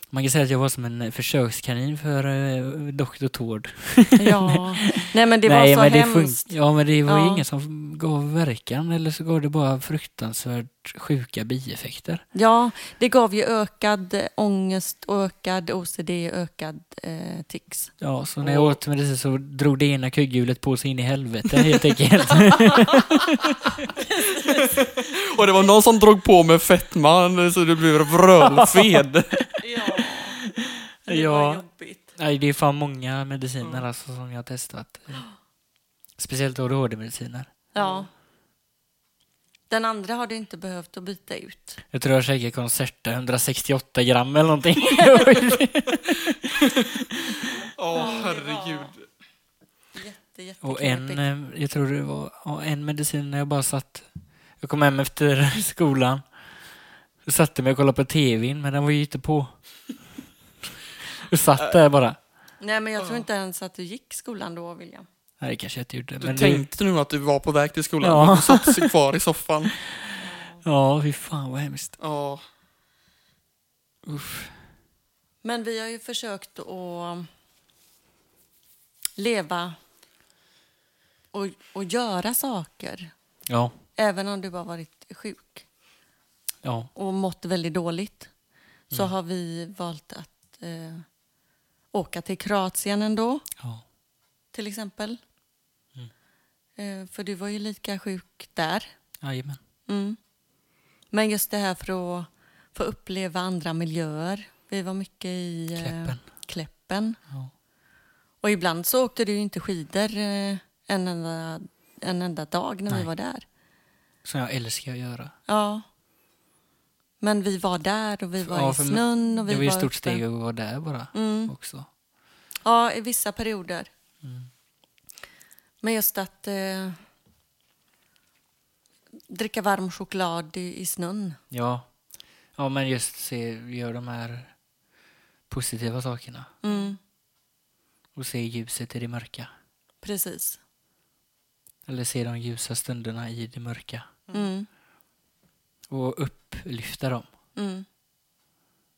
Speaker 1: Man kan säga att jag var som en eh, försökskanin för eh, Dr. Tord.
Speaker 3: Ja. Nej, men det
Speaker 1: Nej,
Speaker 3: var
Speaker 1: men
Speaker 3: så
Speaker 1: det
Speaker 3: hemskt.
Speaker 1: fun- Ja, men det var ju
Speaker 3: Ja.
Speaker 1: ingen som gav verkan eller så gav det bara fruktansvärt sjuka bieffekter.
Speaker 3: Ja, det gav ju ökad eh, ångest, och ökad OCD, ökad eh, tics.
Speaker 1: Ja, så när jag
Speaker 2: Och-
Speaker 1: åt medicin så drog det ena kugghjulet på sig in i helvete helt enkelt.
Speaker 2: Och det var någon som drog på med fetma så du blev vrölfed.
Speaker 3: Ja,
Speaker 1: det var Ja.
Speaker 3: jobbigt.
Speaker 1: Nej, det är fan många mediciner alltså som jag har testat. Speciellt ADHD-mediciner.
Speaker 3: Ja. Den andra har du inte behövt att byta ut.
Speaker 1: Jag tror jag käkade Concerta 168 gram eller någonting.
Speaker 2: Åh,
Speaker 3: herregud. Jätte,
Speaker 1: Och en,
Speaker 3: jätteknepigt.
Speaker 1: eh, jag tror det var ja, en medicin när jag bara satt. Jag kom hem efter skolan. Jag satte mig och kollade på tvn, men den var ju inte på. Jag satt där bara.
Speaker 3: Nej, men jag tror inte ens att du gick skolan då, William.
Speaker 1: Nej, det kanske jag inte gjorde.
Speaker 2: Du
Speaker 1: Men det,
Speaker 2: tänkte nu att du var på väg till skolan
Speaker 1: Ja.
Speaker 2: och du satt sig kvar i soffan.
Speaker 1: ja, fy fan vad hemskt.
Speaker 2: Ja.
Speaker 1: Uff.
Speaker 3: Men vi har ju försökt att leva och, och göra saker,
Speaker 1: Ja,
Speaker 3: även om du har varit sjuk.
Speaker 1: ja,
Speaker 3: och mått väldigt dåligt så har vi valt att eh, åka till Kroatien ändå,
Speaker 1: ja.
Speaker 3: till exempel. Eh, för du var ju lika sjuk där.
Speaker 1: Jajamän.
Speaker 3: Mm. Men just det här för att få uppleva andra miljöer. Vi var mycket i eh,
Speaker 1: Kläppen.
Speaker 3: Kläppen.
Speaker 1: Ja.
Speaker 3: Och ibland så åkte du ju inte skidor eh, en, enda, en enda dag när
Speaker 1: Nej.
Speaker 3: vi var där.
Speaker 1: Som jag älskar att göra.
Speaker 3: Ja. Men vi var där och vi var
Speaker 1: Ja,
Speaker 3: i
Speaker 1: för mig-
Speaker 3: snön. Och vi
Speaker 1: det var ju ett stort
Speaker 3: uppe.
Speaker 1: steg att vara där bara
Speaker 3: Mm.
Speaker 1: också.
Speaker 3: Ja, i vissa perioder.
Speaker 1: Mm.
Speaker 3: Men just att eh, dricka varm choklad i, i snön.
Speaker 1: Ja. ja, men just se, gör de här positiva sakerna
Speaker 3: Mm,
Speaker 1: och se ljuset i det mörka.
Speaker 3: precis.
Speaker 1: Eller se de ljusa stunderna i det mörka
Speaker 3: Mm,
Speaker 1: och upplyfta dem.
Speaker 3: mm.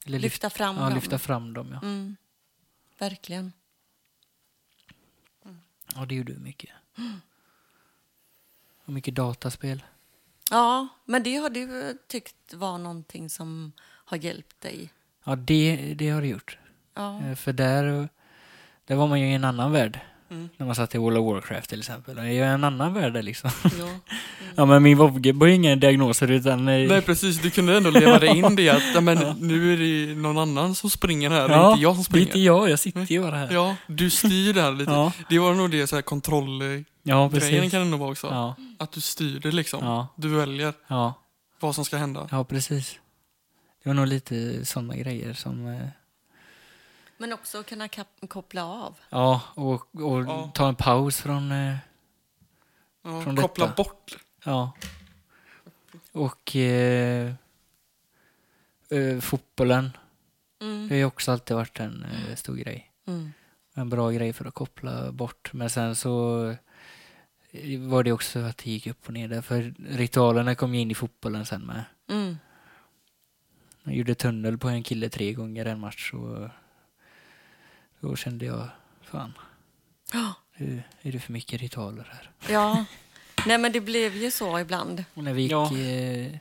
Speaker 1: Eller lyft,
Speaker 3: Lyfta fram
Speaker 1: ja,
Speaker 3: dem.
Speaker 1: lyfta fram dem. Ja.
Speaker 3: Mm, verkligen.
Speaker 1: ja, det gjorde vi mycket.
Speaker 3: Mm.
Speaker 1: Och mycket dataspel.
Speaker 3: Ja, men det har du eh, tyckt var någonting som har hjälpt dig.
Speaker 1: Ja, det, det har det gjort.
Speaker 3: Ja.
Speaker 1: Eh, För där, där var man ju i en annan värld.
Speaker 2: Mm.
Speaker 1: När man satt i World of Warcraft till exempel. Jag är ju i en annan värld där, liksom.
Speaker 3: ja.
Speaker 1: Ja, men min vovgubbe har ju inga diagnoser utan... eh,
Speaker 2: Nej precis, du kunde ändå leva dig in det att ja, men, nu är det någon annan som springer här, det är
Speaker 1: Ja,
Speaker 2: inte jag som
Speaker 1: det är
Speaker 2: springer.
Speaker 1: inte jag, jag sitter ju bara här.
Speaker 2: Ja, du styr det här lite.
Speaker 1: ja.
Speaker 2: Det var nog det så här kontrollgrejen
Speaker 1: ja precis.
Speaker 2: kan det nog vara också.
Speaker 1: Ja,
Speaker 2: Att du styr det liksom.
Speaker 1: ja,
Speaker 2: Du väljer
Speaker 1: ja,
Speaker 2: vad som ska hända.
Speaker 1: ja, precis. Det var nog lite sådana grejer som... eh,
Speaker 3: Men också att kunna kap- koppla av.
Speaker 1: Ja, och, och
Speaker 2: Ja.
Speaker 1: ta en paus från... eh,
Speaker 2: Ja,
Speaker 1: Från
Speaker 2: koppla
Speaker 1: detta.
Speaker 2: bort.
Speaker 1: Ja. Och... Eh, eh, fotbollen. Det
Speaker 3: Mm.
Speaker 1: har ju också alltid varit en eh, stor grej.
Speaker 3: Mm.
Speaker 1: En bra grej för att koppla bort. Men sen så eh, var det också att det gick upp och ner där. För ritualerna kom ju in i fotbollen sen med.
Speaker 3: Mm.
Speaker 1: Jag gjorde tunnel på en kille tre gånger en match och då kände jag, fan,
Speaker 3: Ja.
Speaker 1: nu är det för mycket ritualer här.
Speaker 3: Ja. Nej, men det blev ju så ibland.
Speaker 1: Och när vi gick,
Speaker 2: Ja.
Speaker 1: eh,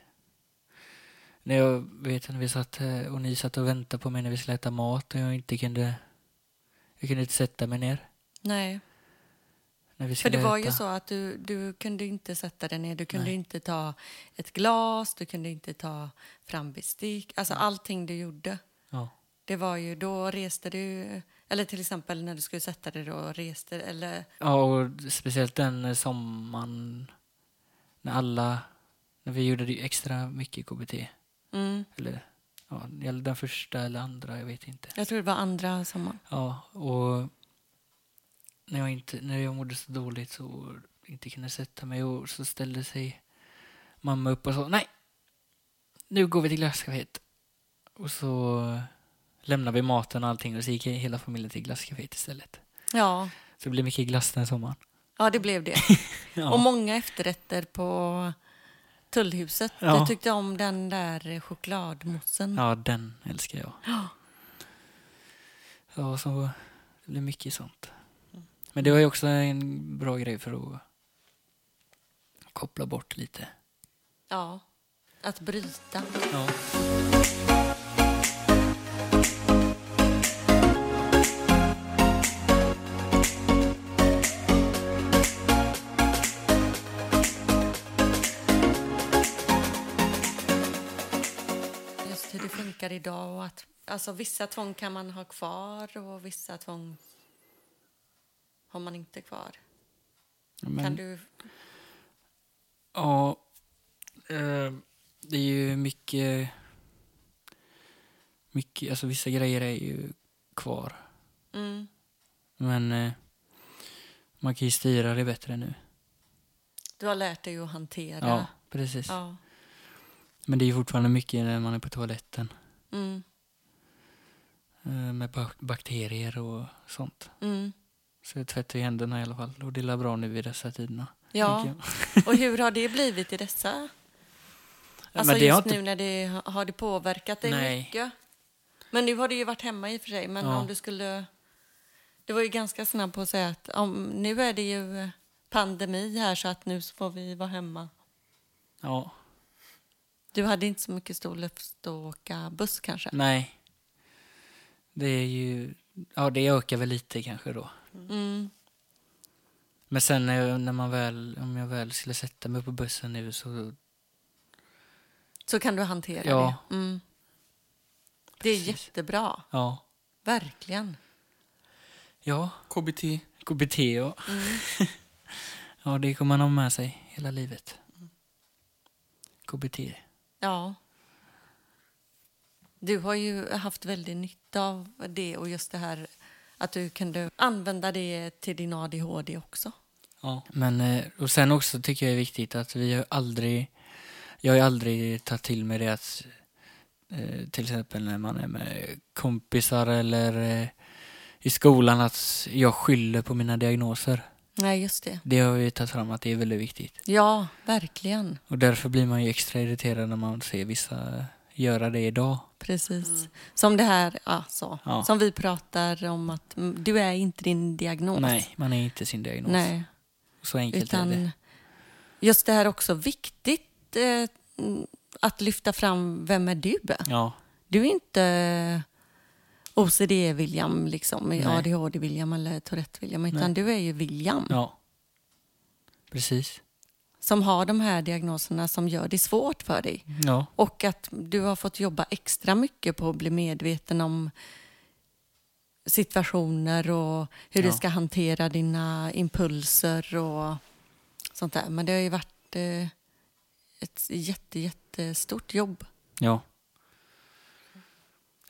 Speaker 1: när jag vet när vi satt eh, och ni satt och väntade på mig när vi skulle äta mat och jag inte kunde, jag kunde inte sätta mig ner.
Speaker 3: Nej.
Speaker 1: När vi
Speaker 3: För
Speaker 1: skulle
Speaker 3: det var
Speaker 1: äta.
Speaker 3: ju så att du, du kunde inte sätta dig ner. Du kunde
Speaker 1: Nej.
Speaker 3: inte ta ett glas, du kunde inte ta fram bestick. Alltså allting du gjorde.
Speaker 1: Ja,
Speaker 3: Det var ju, då reste du, eller till exempel när du skulle sätta dig då reste, eller
Speaker 1: ja och speciellt den eh, sommaren när alla, när vi gjorde det ju extra mycket KBT.
Speaker 3: mm,
Speaker 1: Eller, ja, eller den första eller andra, jag vet inte.
Speaker 3: jag tror det var andra sommaren.
Speaker 1: Ja, och när jag, inte, när jag mådde så dåligt så inte kunde sätta mig och så ställde sig mamma upp och sa nej, nu går vi till glasscaféet. Och så lämnade vi maten och allting och så gick hela familjen till glasscaféet istället.
Speaker 3: Ja,
Speaker 1: Så det blev mycket glass den sommaren.
Speaker 3: ja det blev det. Och
Speaker 1: Ja,
Speaker 3: många efterrätter på Tullhuset.
Speaker 1: Ja.
Speaker 3: Jag tyckte om den där chokladmoussen.
Speaker 1: ja den älskar jag. Ja, så det blev mycket sånt.
Speaker 3: Mm.
Speaker 1: Men det var ju också en bra grej för att koppla bort lite.
Speaker 3: Ja, att bryta.
Speaker 1: Ja.
Speaker 3: Just hur det funkar idag och att alltså, vissa tvång kan man ha kvar och vissa tvång har man inte kvar.
Speaker 1: Men,
Speaker 3: Kan du...
Speaker 1: Ja, eh, det är ju mycket, mycket, alltså vissa grejer är ju kvar.
Speaker 3: Mm,
Speaker 1: Men eh, man kan ju styra det bättre nu.
Speaker 3: du har lärt dig att hantera.
Speaker 1: Ja, precis.
Speaker 3: Ja.
Speaker 1: Men det är ju fortfarande mycket när man är på toaletten
Speaker 3: Mm,
Speaker 1: eh, med bak- bakterier och sånt.
Speaker 3: mm.
Speaker 1: Så jag tvättar ju händerna i alla fall och det är bra nu i dessa tiderna.
Speaker 3: Ja,
Speaker 1: tänker
Speaker 3: och hur har det blivit i dessa?
Speaker 1: jag.
Speaker 3: Alltså
Speaker 1: Men det har
Speaker 3: just
Speaker 1: inte
Speaker 3: nu när det har det påverkat dig
Speaker 1: Nej.
Speaker 3: mycket? Men nu har du ju varit hemma i och för sig, men
Speaker 1: Ja.
Speaker 3: om du skulle... Du var ju ganska snabb på att säga att om, nu är det ju pandemi här så att nu så får vi vara hemma.
Speaker 1: Ja,
Speaker 3: Du hade inte så mycket stor lust att åka buss kanske?
Speaker 1: nej. Det är ju, ja det ökar väl lite kanske då.
Speaker 3: Mm.
Speaker 1: Men sen när, när man väl, om jag väl skulle sätta mig på bussen nu så,
Speaker 3: Så kan du hantera
Speaker 1: Ja.
Speaker 3: det? Mm. Det är
Speaker 1: Precis.
Speaker 3: jättebra,
Speaker 1: ja.
Speaker 3: verkligen.
Speaker 1: Ja,
Speaker 2: KBT.
Speaker 1: KBT ja.
Speaker 3: Mm.
Speaker 1: ja, det kommer man ha med sig hela livet. KBT.
Speaker 3: Ja. Du har ju haft väldigt nytta av det och just det här att du kunde använda det till din ADHD också.
Speaker 1: Ja. Men, eh, och sen också tycker jag är viktigt att vi har aldrig, jag har ju aldrig tagit till mig det att Eh, till exempel när man är med kompisar eller eh, i skolan att jag skyller på mina diagnoser.
Speaker 3: Nej, just det.
Speaker 1: Det har vi tagit fram att det är väldigt viktigt.
Speaker 3: Ja, verkligen.
Speaker 1: Och därför blir man ju extra irriterad när man ser vissa göra det idag.
Speaker 3: Precis. Som det här, alltså,
Speaker 1: Ja.
Speaker 3: som vi pratar om att mm, du är inte din diagnos.
Speaker 1: Nej, man är inte sin diagnos.
Speaker 3: Nej,
Speaker 1: Så enkelt är det.
Speaker 3: utan just det här är också viktigt eh, mm, att lyfta fram, vem är du?
Speaker 1: Ja,
Speaker 3: Du är inte OCD-William, liksom,
Speaker 1: Nej.
Speaker 3: ADHD-William eller Tourette-William, utan
Speaker 1: Nej.
Speaker 3: du är ju William
Speaker 1: ja. Precis.
Speaker 3: som har de här diagnoserna som gör det svårt för dig.
Speaker 1: Ja,
Speaker 3: Och att du har fått jobba extra mycket på att bli medveten om situationer och hur
Speaker 1: Ja.
Speaker 3: du ska hantera dina impulser och sånt där. Men det har ju varit eh, ett jätte, jättestort jobb.
Speaker 1: ja.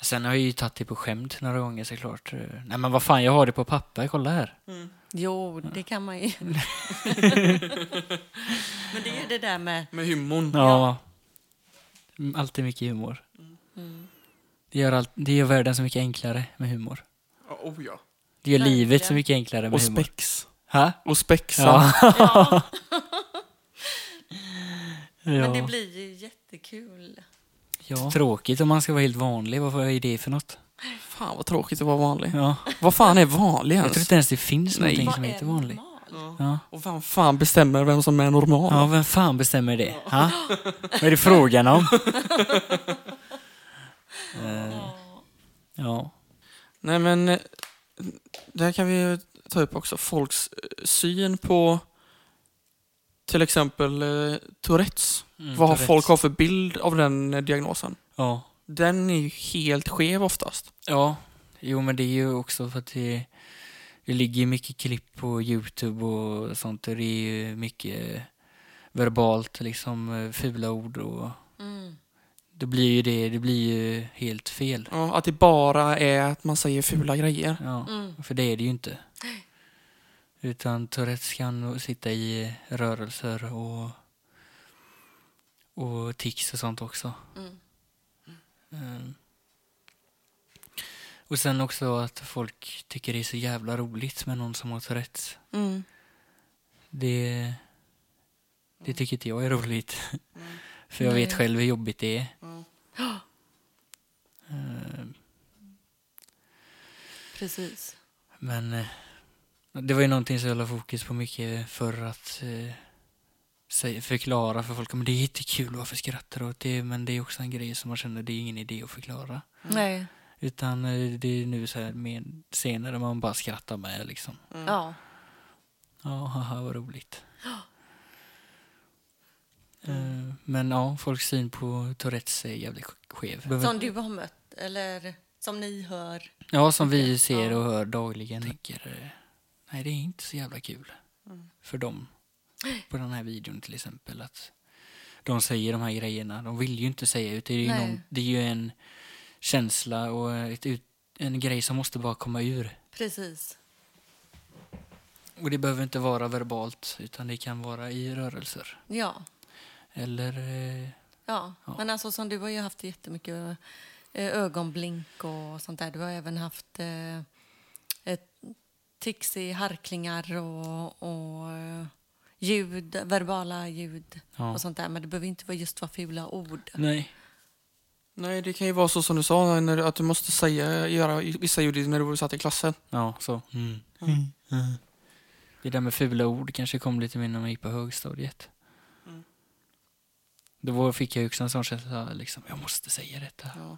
Speaker 1: Sen har jag ju tagit det på skämt några gånger såklart. Eh, Nej men vad fan, jag har det på papper, kolla här.
Speaker 3: Jo, det kan man ju. Men det är ju det där med...
Speaker 2: Med hymmon.
Speaker 1: Ja. Mm, Alltid mycket humor.
Speaker 3: Mm.
Speaker 1: Det, gör allt, det gör världen så mycket enklare med humor.
Speaker 2: Ja, Oh, ja.
Speaker 1: Det gör
Speaker 3: Verkligen.
Speaker 1: livet så mycket enklare med
Speaker 2: Och
Speaker 1: humor.
Speaker 2: spex.
Speaker 1: Ha?
Speaker 2: Och spexa.
Speaker 1: Ja.
Speaker 3: Men det
Speaker 1: ja.
Speaker 3: blir ju jättekul.
Speaker 1: ja. Tråkigt om man ska vara helt vanlig. Vad är det för något?
Speaker 2: Fan vad tråkigt att vara vanlig.
Speaker 1: Ja.
Speaker 2: Vad fan är vanlig
Speaker 1: Jag tror
Speaker 2: ens?
Speaker 1: inte ens det finns
Speaker 2: Nej.
Speaker 1: någonting
Speaker 3: Vad
Speaker 1: som
Speaker 3: är
Speaker 1: heter vanlig.
Speaker 3: normal?
Speaker 1: Ja.
Speaker 2: Och vem fan bestämmer vem som är normal?
Speaker 1: ja, vem fan bestämmer det? Ha? Vad är det frågan om? Eh, ja.
Speaker 2: Nej men, eh, det här kan vi ju ta upp också. Folks eh, syn på till exempel eh, Tourettes.
Speaker 1: Mm,
Speaker 2: Vad har
Speaker 1: Tourettes.
Speaker 2: folk har för bild av den eh, diagnosen.
Speaker 1: Ja.
Speaker 2: Den är ju helt skev oftast.
Speaker 1: Ja, jo men det är ju också för att det, det ligger ju mycket klipp på Youtube och sånt och det är ju mycket verbalt liksom eh, fula ord och
Speaker 3: Mm.
Speaker 1: det blir ju det, det blir ju helt fel.
Speaker 2: Ja, att det bara är att man säger fula grejer.
Speaker 1: Ja,
Speaker 3: Mm.
Speaker 1: för det är det ju inte. Utan Tourettes kan nog sitta i rörelser och, och tics och sånt också.
Speaker 3: Mm.
Speaker 1: Mm. Och sen också att folk tycker det är så jävla roligt med någon som har Tourettes.
Speaker 3: Mm.
Speaker 1: Det, det tycker inte jag är roligt. För jag vet
Speaker 3: Nej.
Speaker 1: själv hur jobbigt det är. Eh,
Speaker 3: Precis.
Speaker 1: Men eh, det var ju någonting som jag la fokus på mycket för att eh, säga- förklara för folk. Men det är jättekul, varför skrattar du åt det? Men det är också en grej som man känner, det är ingen idé att förklara.
Speaker 3: Nej.
Speaker 1: Utan eh, det är nu så här med senare man bara skrattar med liksom.
Speaker 3: Ja.
Speaker 1: Ja, haha, vad roligt. Eh, Men ja, folks syn på Tourettes är jävligt skev. Behöver-
Speaker 3: Som du har mött, eller som ni hör.
Speaker 1: Ja, som vi ser och hör dagligen. Tänker, eh, nej, det är inte så jävla kul
Speaker 3: Mm.
Speaker 1: för dem. På den här videon till exempel. Att de säger de här grejerna. De vill ju inte säga ut. Det är ju,
Speaker 3: Nej.
Speaker 1: någon, det är ju en känsla och ett ut, en grej som måste bara komma ur.
Speaker 3: Precis.
Speaker 1: Och det behöver inte vara verbalt utan det kan vara i rörelser.
Speaker 3: Ja.
Speaker 1: Eller eh,
Speaker 3: ja.
Speaker 1: Ja.
Speaker 3: Men alltså som du har ju haft jättemycket eh, ögonblink och sånt där. Du har även haft eh, ett tics i harklingar och, och eh, ljud, verbala ljud
Speaker 1: ja.
Speaker 3: och sånt där. Men det behöver inte vara just vara fula ord.
Speaker 1: Nej.
Speaker 2: Nej, det kan ju vara så som du sa, när, att du måste säga, göra vissa ljud när du satt i klassen.
Speaker 1: Ja, så. Mm. Det där med fula ord kanske kom lite mer när man gick på högstadiet. Mm. Då fick jag ju också en sån känsla, liksom, jag måste säga detta.
Speaker 2: Ja.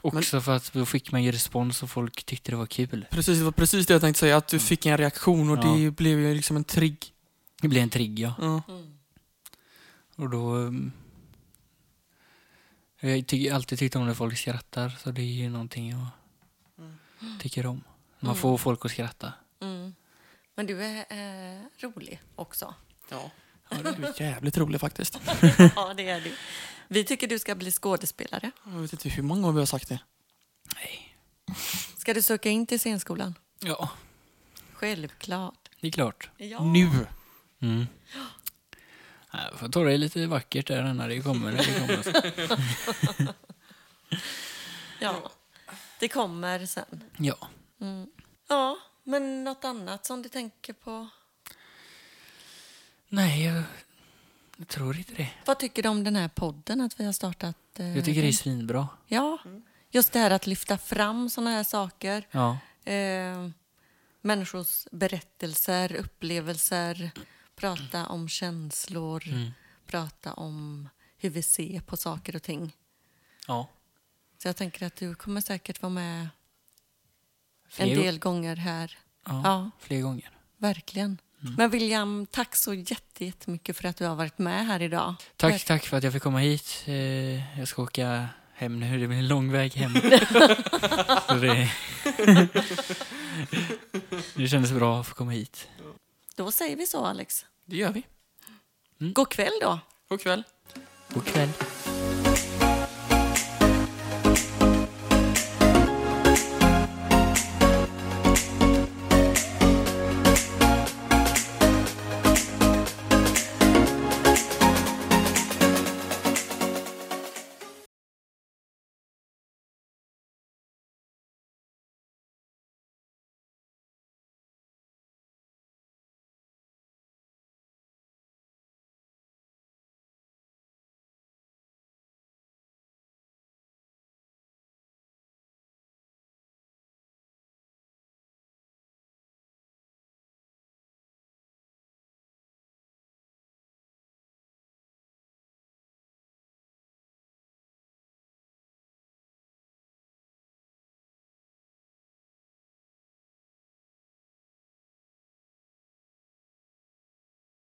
Speaker 1: Också för att då fick man ju respons och folk tyckte det var kul.
Speaker 2: Precis, det var precis det jag tänkte säga, att du
Speaker 1: Mm.
Speaker 2: fick en reaktion och
Speaker 1: Ja.
Speaker 2: det blev ju liksom en trigg.
Speaker 1: Det blev en trigger.
Speaker 2: Ja.
Speaker 3: Mm.
Speaker 1: Och då... um, Jag tycker alltid tyckt om när folk skrattar, så det är ju någonting jag Mm. tycker om. När man
Speaker 3: Mm.
Speaker 1: får folk att skratta.
Speaker 3: Mm. Men du är eh, rolig också.
Speaker 2: Ja. det är jävligt roligt faktiskt.
Speaker 3: ja, det är du. Vi tycker du ska bli skådespelare.
Speaker 2: Jag vet inte hur många gånger vi har sagt det.
Speaker 1: Nej.
Speaker 3: Ska du söka in till scenskolan?
Speaker 1: Ja,
Speaker 3: Självklart.
Speaker 1: det är klart.
Speaker 3: Ja.
Speaker 2: Nu!
Speaker 1: Mm. Jag får ta det lite vackert där när det kommer. När det kommer.
Speaker 3: Ja, det kommer sen.
Speaker 1: Ja.
Speaker 3: Mm. Ja, men något annat som du tänker på?
Speaker 1: Nej, jag, jag tror inte det.
Speaker 3: Vad tycker du om den här podden att vi har startat? eh,
Speaker 1: Jag tycker det är svinbra.
Speaker 3: Ja, just det här att lyfta fram sådana här saker.
Speaker 1: Ja.
Speaker 3: Eh, människors berättelser, upplevelser, prata om känslor,
Speaker 1: Mm.
Speaker 3: prata om hur vi ser på saker och ting.
Speaker 1: ja.
Speaker 3: Så jag tänker att du kommer säkert vara med en
Speaker 1: Fler,
Speaker 3: del gånger här.
Speaker 1: Ja,
Speaker 3: Ja.
Speaker 1: fler gånger.
Speaker 3: Verkligen.
Speaker 1: Mm.
Speaker 3: Men William, tack så jätte- jättemycket för att du har varit med här idag.
Speaker 1: Tack, tack för att jag fick komma hit. Eh, Jag ska åka hem nu. Det blir en lång väg hem. Så det, det kändes bra att få komma hit.
Speaker 3: Då säger vi så, Alex.
Speaker 2: Det gör vi.
Speaker 3: God kväll då.
Speaker 2: God kväll.
Speaker 1: God kväll.